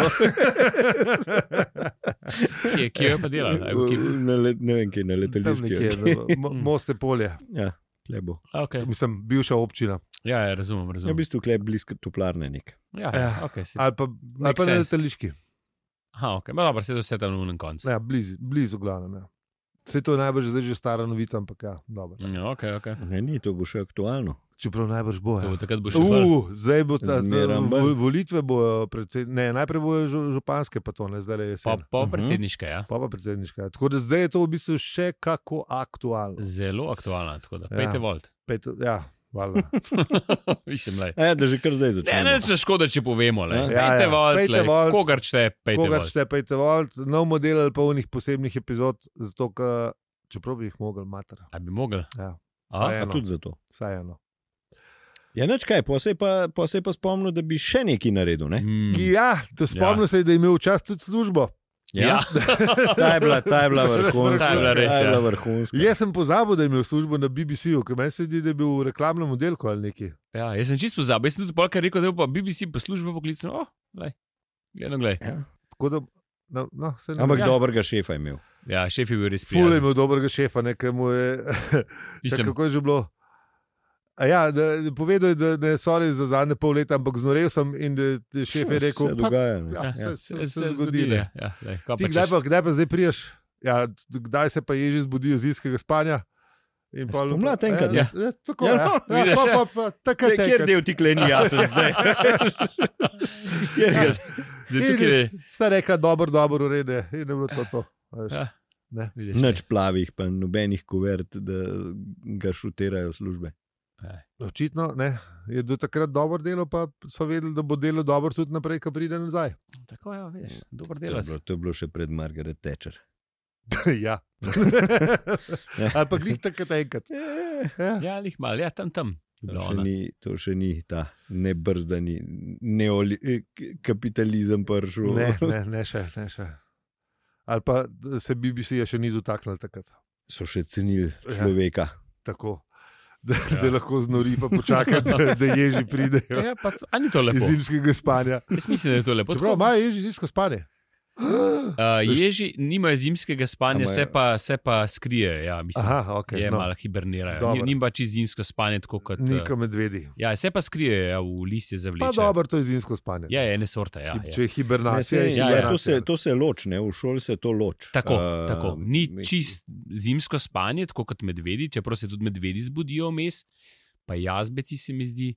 Speaker 1: Kje, kje jo pa dela? A je v Kijevu?
Speaker 2: Na let- Ne vem, kje na
Speaker 3: Tam
Speaker 2: letališču.
Speaker 3: nekje,
Speaker 2: je. Hm.
Speaker 3: no, mo- moste polje,
Speaker 2: Ja, tule bo.
Speaker 1: Okay.
Speaker 3: mislim, bivša občina.
Speaker 1: Ja, ja, razumem.
Speaker 2: Ja, v
Speaker 1: razumem.
Speaker 2: bistvu je blizu toplarne nek.
Speaker 1: Ja,
Speaker 3: Ja.
Speaker 1: ja. Okay, si...
Speaker 3: Ali pa, ali pa na
Speaker 1: sense.
Speaker 3: letališki,
Speaker 1: Aha, okay. Ma, dobro, se je vse tam na unem koncu.
Speaker 3: ja, blizu, blizu glavno. Ja. Vse to je najbrž zdaj že stara novica, ampak ja, dobro.
Speaker 1: Ja, okay, okay.
Speaker 2: Ne, ni, to bo še aktualno.
Speaker 3: Čeprav najbrž bo.
Speaker 1: To
Speaker 3: Ja.
Speaker 1: bo takrat bo še bolj.
Speaker 3: Uh, zdaj bo ta, zdaj,
Speaker 2: Zmeram bolj.
Speaker 3: vo, volitve bojo, predsed, ne, najprej bojo žu- županske, pa to ne, zdaj je
Speaker 1: Pa,
Speaker 3: jesen.
Speaker 1: pa
Speaker 2: Mhm.
Speaker 1: predsedniška, ja.
Speaker 3: Pa pa predsedniška. ja. Tako da zdaj je to v bistvu še kako aktualno.
Speaker 1: Zelo aktualna, tako da
Speaker 3: Ja.
Speaker 1: pejte volt.
Speaker 3: Pet, ja, valjda.
Speaker 1: Mislim, lej.
Speaker 2: E, da že kar zdaj
Speaker 1: Ne,
Speaker 2: začnemo.
Speaker 1: ne, če škoda, če povemo, le.
Speaker 2: Ja,
Speaker 1: Ja,
Speaker 3: ja.
Speaker 1: pejte ja, volt,
Speaker 3: Pejte
Speaker 1: pejte
Speaker 3: volt.
Speaker 1: volt. Kogar čte, pejte
Speaker 3: Koga
Speaker 1: volt.
Speaker 3: šte pejte volt, nov model ali pa unih posebnih epizod, zato ker čeprav bi jih mogli mater.
Speaker 1: A bi mogel?
Speaker 3: Ja.
Speaker 2: A
Speaker 1: A?
Speaker 2: tudi zato.
Speaker 3: Saj eno.
Speaker 2: Ja, nič kaj, posej pa, posej pa spomnil, da bi še nekaj naredil. Ne?
Speaker 1: Mm.
Speaker 3: Ja, to spomnim ja. se, da je imel včasih tudi službo.
Speaker 1: Ja.
Speaker 2: ta je bila, ta je bila vrhunska.
Speaker 1: Ta je bila res,
Speaker 2: ta je
Speaker 1: ja.
Speaker 2: bila vrhunska.
Speaker 3: Jaz sem pozabil, da je imel službo na BBC-u, ker meni se zdi, da je bil v reklamnem oddelku ali neki.
Speaker 1: ja, jaz sem čisto pozabil. Jaz sem tudi polkar rekel, da bo pa BBC poslužbo poklical. Oh, lej. Gledam, glej.
Speaker 3: Ja. Tako da, no, no, saj ne
Speaker 2: Ampak
Speaker 1: Ja.
Speaker 2: ja. dobrega šefa je imel.
Speaker 1: Ja, šef je bil res
Speaker 3: Ful je
Speaker 1: prijazen.
Speaker 3: imel dobrega šefa, nekaj mu je. Čak,
Speaker 1: Mislim,
Speaker 3: kako je že bilo? A Ja, da, povedal je, da ne sorry za zadnje pol leta, ampak znorel sem in da je šef je rekel:
Speaker 2: se
Speaker 3: "Pa,
Speaker 2: dogaja. ne."
Speaker 3: ja, se, se, se, se zgodi.
Speaker 1: zgodi,
Speaker 3: ne."
Speaker 1: ja. Ja, lej, kaj
Speaker 3: Ti,
Speaker 1: pa
Speaker 3: kdaj,
Speaker 1: češ?
Speaker 3: pa, kdaj pa zdaj priješ? Ja, kdaj se pa je že zbudil iz iskega spanja? In pol-
Speaker 2: Spomlad enkrat,
Speaker 3: ja. ja. Tako
Speaker 2: Ja,
Speaker 3: je.
Speaker 2: no,
Speaker 3: Ja, ja,
Speaker 1: vidiš,
Speaker 3: pa-
Speaker 1: ja.
Speaker 3: pa- pa- takrat
Speaker 2: Zdaj, Kjer
Speaker 3: enkrat.
Speaker 2: del ti kleni jasen zdaj?
Speaker 3: Ja,
Speaker 2: Kjer ga-
Speaker 1: Ja. Zdaj
Speaker 3: In
Speaker 1: tukaj je.
Speaker 3: Sta rekla, dobro, dobro, urede. In je bilo to. to. a veš.
Speaker 1: Ja. Vidiš, ne.
Speaker 2: Nič plavih, pa nobenih kuvert, da ga šutirajo službe.
Speaker 3: Očitno ne. je do takrat dobro delo, pa so vedeli, da bo delo dobro tudi naprej, ko pride nazaj.
Speaker 1: Tako je, vidiš, dober
Speaker 2: To je,
Speaker 1: delac.
Speaker 2: bilo, to je bilo še pred Margaret Thatcher.
Speaker 3: ja. Ali pa glih takrat enkrat. Ja.
Speaker 1: Ja, lih mal, ja, tam tam.
Speaker 2: To še, ni, to še ni ta nebrzdani neoli, eh, k- kapitalizem prišel.
Speaker 3: Ne, ne, ne še, ne še. Ali pa se BBC-ja ja še ni dotaknil takrat.
Speaker 2: So še cenili
Speaker 3: Ja.
Speaker 2: človeka.
Speaker 3: Tako. Da, ja. da lahko znori, pa počaka, da, da ježi pridejo
Speaker 1: Ja, pa, c- a ni to lepo?
Speaker 3: iz zimskega spanja.
Speaker 1: Jaz mislim, da je to lepo.
Speaker 3: Čeprav
Speaker 1: Tako,
Speaker 3: imajo ježi zimsko spanje.
Speaker 1: uh, ježi nimajo zimskega spanja,
Speaker 2: Amajo.
Speaker 1: se pa, se pa skrijejo. Ja, mislim, Aha,
Speaker 3: Aha, ok.
Speaker 1: okay, je, no.
Speaker 3: No,
Speaker 1: Malo hibernirajo.
Speaker 3: Dobro.
Speaker 1: Ni, nim pa čez zimsko spanje, tako kot. eh,
Speaker 3: Nika medvedi.
Speaker 1: Ja, se pa skrijejo ja, v listje za
Speaker 3: Pa
Speaker 1: vleče.
Speaker 3: dobro, to je zimsko spanje.
Speaker 1: Ja, je ene sorte. Ja,
Speaker 3: Hib-
Speaker 1: je.
Speaker 3: Če je hibernacija,
Speaker 2: Ne,
Speaker 3: je
Speaker 2: saj,
Speaker 1: ja,
Speaker 2: ja,
Speaker 3: hibernacija.
Speaker 2: to, se, to se loči, ne, v šoli se to loči.
Speaker 1: Tako,
Speaker 2: Eh,
Speaker 1: uh, tako. Ni
Speaker 2: mi-
Speaker 1: čist zimsko spanje, tako kot medvedi, čeprav se tudi medvedi zbudijo vmes, pa jazbeci se mi zdi.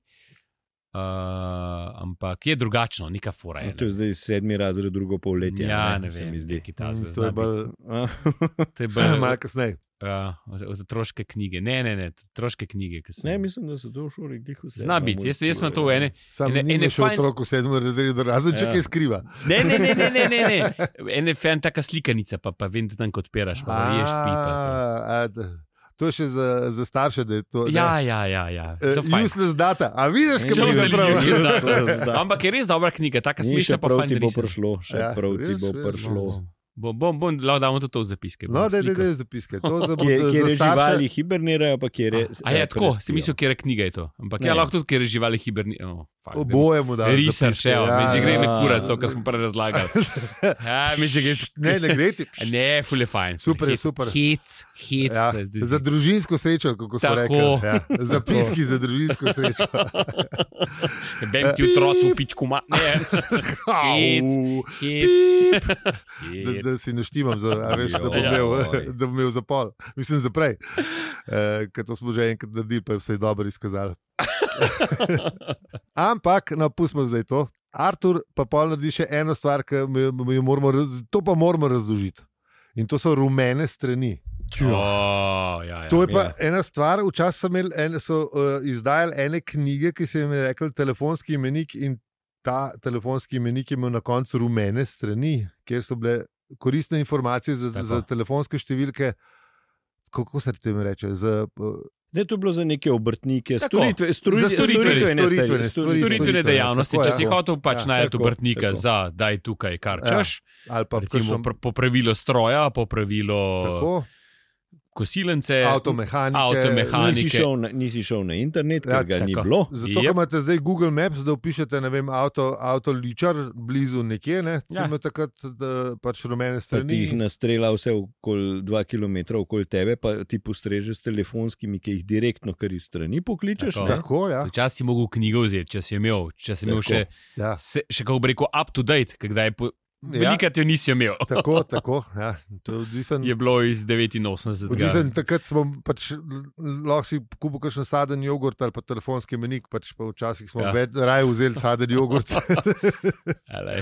Speaker 1: Uh, ampak je drugačno, neka fora. Je,
Speaker 2: No, to je
Speaker 1: ne.
Speaker 2: zdaj sedmi razred, drugo polletje.
Speaker 1: ja,
Speaker 2: ne,
Speaker 1: ne
Speaker 2: se
Speaker 1: vem,
Speaker 2: mi zdi.
Speaker 1: nekaj takega
Speaker 3: Mm,
Speaker 1: zna
Speaker 3: To je
Speaker 1: biti.
Speaker 3: bolj
Speaker 2: A,
Speaker 1: To je bolj
Speaker 3: malo kasneje.
Speaker 1: ja, od- od otroške knjige. Ne, ne, ne, od otroške knjige. ki so-
Speaker 2: ne, mislim, da so to v šoli glih vse. no,
Speaker 1: Zna biti, jaz, jaz sem to v ene.
Speaker 3: Sam
Speaker 1: Ene-
Speaker 3: ne
Speaker 1: ene
Speaker 3: vem, še
Speaker 1: fajn-
Speaker 3: otrok v sedmem razredu, razen če
Speaker 2: Ja.
Speaker 3: kaj skriva.
Speaker 1: Ne, ne, ne, ne, ne, ne, ne. ene fan taka slikanica, pa, pa vem, da tam kot peraš, pa ješ spi. Pa
Speaker 3: A, a, d- Ah, To je še za, za starše, da je to.
Speaker 1: to.
Speaker 3: ne.
Speaker 1: ja, ja, ja. ja.
Speaker 3: Eh,
Speaker 1: so fajn.
Speaker 3: Useless data. A vidiš, kaj
Speaker 1: Zelo
Speaker 3: mi je
Speaker 1: veliko
Speaker 3: prav?
Speaker 1: useless data.
Speaker 2: Zdaj,
Speaker 1: Ampak je res dobra knjiga, taka smešna, pa
Speaker 2: prav
Speaker 1: fajn No.
Speaker 2: ti bo
Speaker 1: narisana.
Speaker 2: prišlo, še
Speaker 3: Ja,
Speaker 2: ja, prav ti
Speaker 3: vidiš, no.
Speaker 2: bo
Speaker 3: vidiš,
Speaker 2: prišlo.
Speaker 1: Bom, bom, bom lahko damo tudi to v zapiske.
Speaker 3: No, da je zapiske. To za,
Speaker 2: Kje, kjer
Speaker 3: eh, za
Speaker 2: je
Speaker 3: starše.
Speaker 2: živali hibernirajo, pa kjer je.
Speaker 1: A je tako, si mislil, kje je knjiga je to. Ampak
Speaker 2: Ne.
Speaker 1: ja, lahko tudi, kjer je živali hibernirajo. Oh, fuck, zdaj me-
Speaker 3: Oboje mu da.
Speaker 1: Risar še, ja, me že gre
Speaker 2: ja.
Speaker 1: na kurat, to, kar smo prej razlagali. Ja, me že gre.
Speaker 3: Ne, ne gre ti.
Speaker 1: A Ne, fule fajn. ful je
Speaker 3: Super je,
Speaker 1: hec,
Speaker 3: super.
Speaker 1: Hec, hec.
Speaker 3: Ja,
Speaker 1: zdaj zdi.
Speaker 3: za družinsko srečo, kako smo
Speaker 1: Tako.
Speaker 3: rekli. Ja, zapiski za družinsko srečo.
Speaker 1: Bem ti otroci v pičku, ma. Ne, Hec.
Speaker 3: Au,
Speaker 1: hec.
Speaker 3: pip. Da, da
Speaker 1: hec.
Speaker 3: si naštimam, za, a veš, da, bom
Speaker 1: Joj.
Speaker 3: imel, da bom imel za pol. Mislim, za prej. Eh, Ker to smo že enkrat naredili, pa je vse dobro izkazalo. Ampak, no, pustimo zdaj to. Artur pa pol naredi še eno stvar, ki mi- mi jo moramo, raz- to pa moramo razložiti. In to so rumene strani.
Speaker 2: No.
Speaker 1: O, ja, ja.
Speaker 3: To je pa ja. ena stvar, včasih so, imeli en, so uh, izdajali ene knjige, ki se jim je rekel telefonski imenik, in ta telefonski imenik je imel na koncu rumene strani, kjer so bile koristne informacije za,
Speaker 1: Tako.
Speaker 3: za telefonske številke. Kako se ti reče? Za, uh,
Speaker 2: Zdaj to je bilo za neke obrtnike,
Speaker 1: Tako.
Speaker 2: storitve, storitve,
Speaker 3: Za
Speaker 1: storitve,
Speaker 2: storitvene
Speaker 3: storitvene,
Speaker 2: stvari,
Speaker 3: storitvene.
Speaker 1: Storitvene
Speaker 3: Storitvene,
Speaker 1: dejavnosti,
Speaker 3: tako,
Speaker 1: če
Speaker 3: ja.
Speaker 1: si hotel pač
Speaker 3: Ja,
Speaker 1: najti
Speaker 2: tako,
Speaker 1: obrtnika
Speaker 2: tako.
Speaker 1: za, daj tukaj, kar
Speaker 3: Ja.
Speaker 1: češ.
Speaker 3: ali pa
Speaker 1: Recimo,
Speaker 3: kakšno-
Speaker 1: pr- popravilo stroja, popravilo
Speaker 3: tako,
Speaker 1: kosilence,
Speaker 3: avtomehanike.
Speaker 1: avtomehanike.
Speaker 2: Nisi šel, na, nisi šel na internet, ker
Speaker 3: Ja,
Speaker 2: ja, ga tako. ni
Speaker 1: tako.
Speaker 2: bilo.
Speaker 3: Zato,
Speaker 1: Jep.
Speaker 3: ker imate zdaj Google Maps, da upišete, ne vem, avto, avto ličar, blizu nekje, ne,
Speaker 1: Ja.
Speaker 3: ja. takrat da, pač
Speaker 2: Pa
Speaker 3: rumene
Speaker 2: ti
Speaker 3: strani.
Speaker 2: jih nastrela vse okoli 2 km okoli tebe, pa ti postreže s telefonskimi, ki jih direktno kar iz strani pokličeš.
Speaker 1: Tako.
Speaker 2: ne.
Speaker 3: Tako, ja.
Speaker 1: Včasih si mogel knjigo vzeti, če si imel, če si imel
Speaker 2: Tako.
Speaker 1: še,
Speaker 3: ja.
Speaker 1: se, še kako bi rekel, up to date, kdaj je po.
Speaker 3: ja.
Speaker 1: Velikrat jo nisi imel.
Speaker 3: Tako, tako. Ja. To je odvisen.
Speaker 1: Je bilo iz 89.
Speaker 3: Odvisen, takrat smo pač, l- lahko si kupil kakšen saden jogurt ali pa telefonski menik, pač pa včasih smo
Speaker 1: Ja.
Speaker 3: ja. raje vzeli saden jogurt.
Speaker 1: A lej.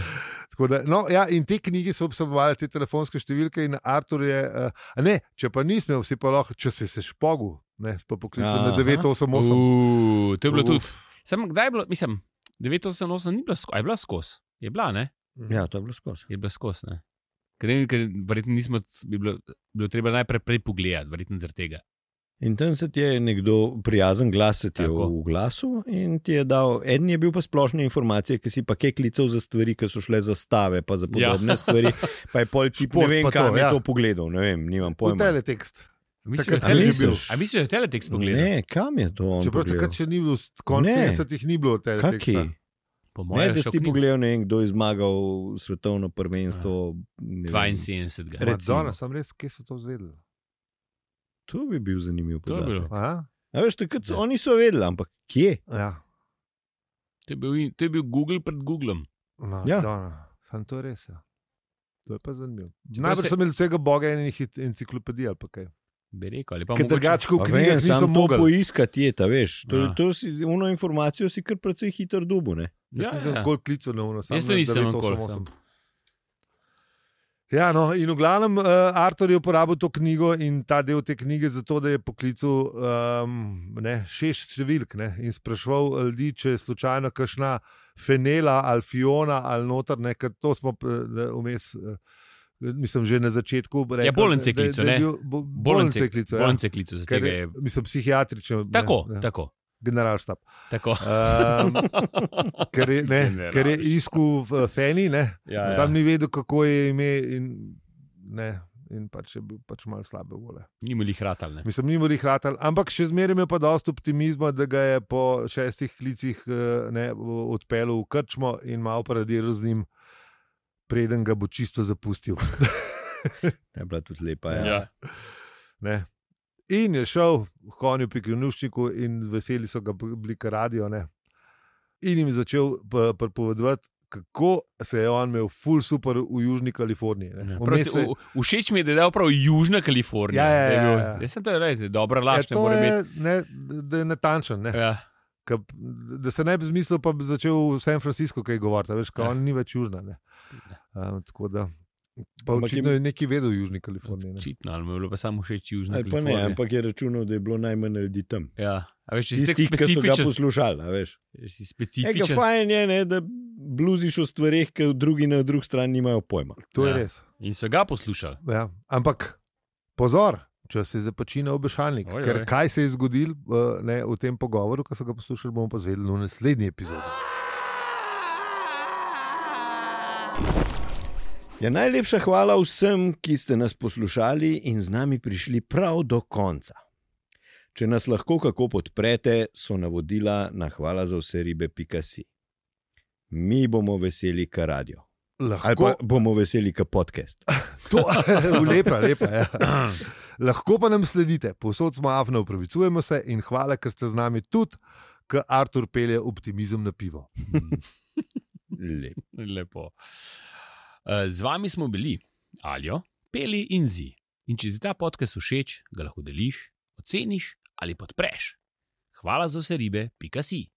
Speaker 3: Tako da, no, ja, in te knjige so obsebovali te telefonske številke in Artur je, uh, ne, če pa nismo, vsi pa lahko, če si se špogu, ne, si pa poklical na
Speaker 2: Aha.
Speaker 3: 988.
Speaker 1: Uuu, To je bilo tudi.
Speaker 3: Uf.
Speaker 1: Sam kdaj je bilo, mislim, 988 ni bila skozi, je bila skozi. Je bila, ne?
Speaker 2: Ja, to je bilo skozi.
Speaker 1: Je bila skozi, ne? Ker, ne vem, ker verjetno nismo, bi bilo, bilo treba najprej prej pogledati, verjetno zaradi tega.
Speaker 2: In tam se ti je nekdo prijazen glas se ti je
Speaker 1: Tako.
Speaker 2: v glasu in ti je dal. En je bil pa splošne informacije, ki si pa kaj klical za stvari, ki so šle za stave, pa za podobne ja. stvari. Pa je pol čip, ne
Speaker 3: Šport
Speaker 2: vem,
Speaker 3: pa
Speaker 2: kam
Speaker 3: to,
Speaker 2: je
Speaker 3: ja.
Speaker 2: to pogledal, ne vem, nimam
Speaker 3: V
Speaker 2: pojma.
Speaker 3: teletekst.
Speaker 1: Misliš,
Speaker 3: Takrat
Speaker 1: da
Speaker 2: je
Speaker 1: je
Speaker 2: že bil.
Speaker 1: teletekst- A misliš, da je teletekst pogledal?
Speaker 2: Ne, kam je to on?
Speaker 3: Čeprav
Speaker 2: pogledal?
Speaker 3: takrat še ni bilo, konec
Speaker 2: Ne.
Speaker 3: 70-ih ni bilo teleteksta.
Speaker 2: Kaki?
Speaker 1: Po
Speaker 2: Ne,
Speaker 1: mojem,
Speaker 2: da si ti pogledal, ne vem, kdo je zmagal svetovno prvenstvo. ne vem.
Speaker 1: 72.
Speaker 2: Re- recimo.
Speaker 3: Madonna, sem res, kje so to izvedeli?
Speaker 2: To bi bil zanimiv
Speaker 1: To je bilo.
Speaker 2: podatek.
Speaker 3: Aha,
Speaker 2: A veš, takrat so,
Speaker 1: Ja.
Speaker 2: oni so vedeli, ampak kje?
Speaker 3: Ja.
Speaker 1: To je bil, to je bil Google pred Googlom.
Speaker 3: No,
Speaker 2: Ja.
Speaker 3: ja. Sam to je res. Ja. To je pa zanimivo.
Speaker 1: Čeprav
Speaker 3: Najprej
Speaker 1: se-
Speaker 3: sem imel vsega boga in enih enciklopedij ali pa kaj.
Speaker 1: Bi rekel, ali pa
Speaker 3: Ker
Speaker 1: mogoče-
Speaker 3: drugače v
Speaker 2: Pa
Speaker 3: knjigah
Speaker 2: vem,
Speaker 3: nisem
Speaker 2: samo to
Speaker 3: mogel.
Speaker 2: poiskati je, ta veš. To,
Speaker 1: Ja.
Speaker 2: ja. to si, uno informacijo si kar precej hitro dubu, ne?
Speaker 3: Jaz nisem
Speaker 1: ja.
Speaker 3: nikoli klical na uno,
Speaker 1: Jaz tudi nisem nikoli,
Speaker 3: Ja, no, in v glavnem, uh, Artur je uporabil to knjigo in ta del te knjige zato, da je poklical um, ne, šest številk ne, in spraševal eh, ljudi, če je slučajno kakšna fenela ali fiona ali noter, ne, ker to smo eh, vmes. eh, Mislim, že na začetku.
Speaker 1: Ja, bolen se je klical, ne?
Speaker 3: Bolen se je klical. ja.
Speaker 1: Bolnice klico, zaradi
Speaker 3: Ker
Speaker 1: tega
Speaker 3: je, Ja,
Speaker 1: je.
Speaker 3: mislim, psihiatrično.
Speaker 1: Tako,
Speaker 3: ne, ne.
Speaker 1: tako.
Speaker 3: generalštab.
Speaker 1: Tako.
Speaker 3: Um, ker, je, ne,
Speaker 1: Generalštab.
Speaker 3: ker je iskal v eh, Feni, ne,
Speaker 1: Ja,
Speaker 3: ja,
Speaker 1: ja.
Speaker 3: sam ni vedel, kako je ime. In, ne, in pač je bil pač malo slabe vole.
Speaker 1: Nimo jih ratal. Ne?
Speaker 3: Mislim, ni bil jih ratal, ampak še zmeraj ima pa dosta optimizma, da ga je po šestih klicih eh, ne, odpeljal v krčmo in malo paradiral z njim, preden ga bo čisto zapustil.
Speaker 2: Ta je bila tudi lepa. Ja.
Speaker 1: Ja.
Speaker 3: Ne. In je šel v konju Pikrivnuščiku in veseli so ga bili, kar radijo. Ne. In jim je začel p- pripovedovati, kako se je on imel ful super v Južni Kaliforniji. ne.
Speaker 1: Ja,
Speaker 3: Vmes
Speaker 1: Prosti,
Speaker 3: se-
Speaker 1: v, všeč mi je, da je dal prav Južna Kalifornija.
Speaker 3: Ja, ja,
Speaker 1: da je bil-
Speaker 3: ja, ja.
Speaker 1: Jaz sem to rekel, dobra
Speaker 3: Ja,
Speaker 1: laž, ne
Speaker 3: to
Speaker 1: more biti.
Speaker 3: je, ne, da je natančen. Ne.
Speaker 1: Ja,
Speaker 3: Ka, da se ne bi zmislil, pa bi začel v San Franciscu kaj govoriti, a veš, kot
Speaker 1: Ja.
Speaker 3: on ni več južna. ne. Um, tako da. Pa
Speaker 2: Ampak
Speaker 3: očitno
Speaker 2: je-
Speaker 3: je nekaj vedel v Južni Kaliforniji. ne.
Speaker 1: očitno, ali mu je bilo pa samo všeč Južna
Speaker 2: Ali pa ne, ja.
Speaker 1: Kalifornija.
Speaker 2: ampak je računal, da je bilo najmanj ljudi tam.
Speaker 1: Ja, a veš, če si tako
Speaker 2: Tisti, ki so ga
Speaker 1: specifičen.
Speaker 2: poslušali, a veš.
Speaker 1: Si
Speaker 2: Ega,
Speaker 1: specifičen
Speaker 2: fajn je, ne, da bluziš o stvarih, ki drugi na drugi strani nimajo pojma.
Speaker 3: To je
Speaker 1: Ja.
Speaker 3: res.
Speaker 1: in so ga poslušali.
Speaker 3: Ja. Ampak pozor, če se započne obešalnik,
Speaker 1: Oj,
Speaker 3: ker
Speaker 1: oj.
Speaker 3: kaj se je zgodilo eh, ne, v tem pogovoru, ki so ga poslušali, bomo pa zvedeli v naslednji epizodi.
Speaker 2: Ja, najlepša hvala vsem, ki ste nas poslušali in z nami prišli prav do konca. Če nas lahko kako podprete, so navodila na hvala za vse ribe.si. Mi bomo veseli, kar radio. Ali
Speaker 3: Lahko,
Speaker 2: pa bomo veseli, kar podcast.
Speaker 3: to, lepa, lepa, ja. Lahko pa nam sledite, posod smo afno, upravičujemo se in hvala, ker ste z nami tudi, ker Artur pelje optimizem na pivo.
Speaker 2: Lep.
Speaker 1: Lepo. Eh, Z vami smo bili Aljo, Peli in Zi. In če ti ta podcast všeč, ga lahko deliš, oceniš ali podpreš. Hvala za vse ribe, pika si.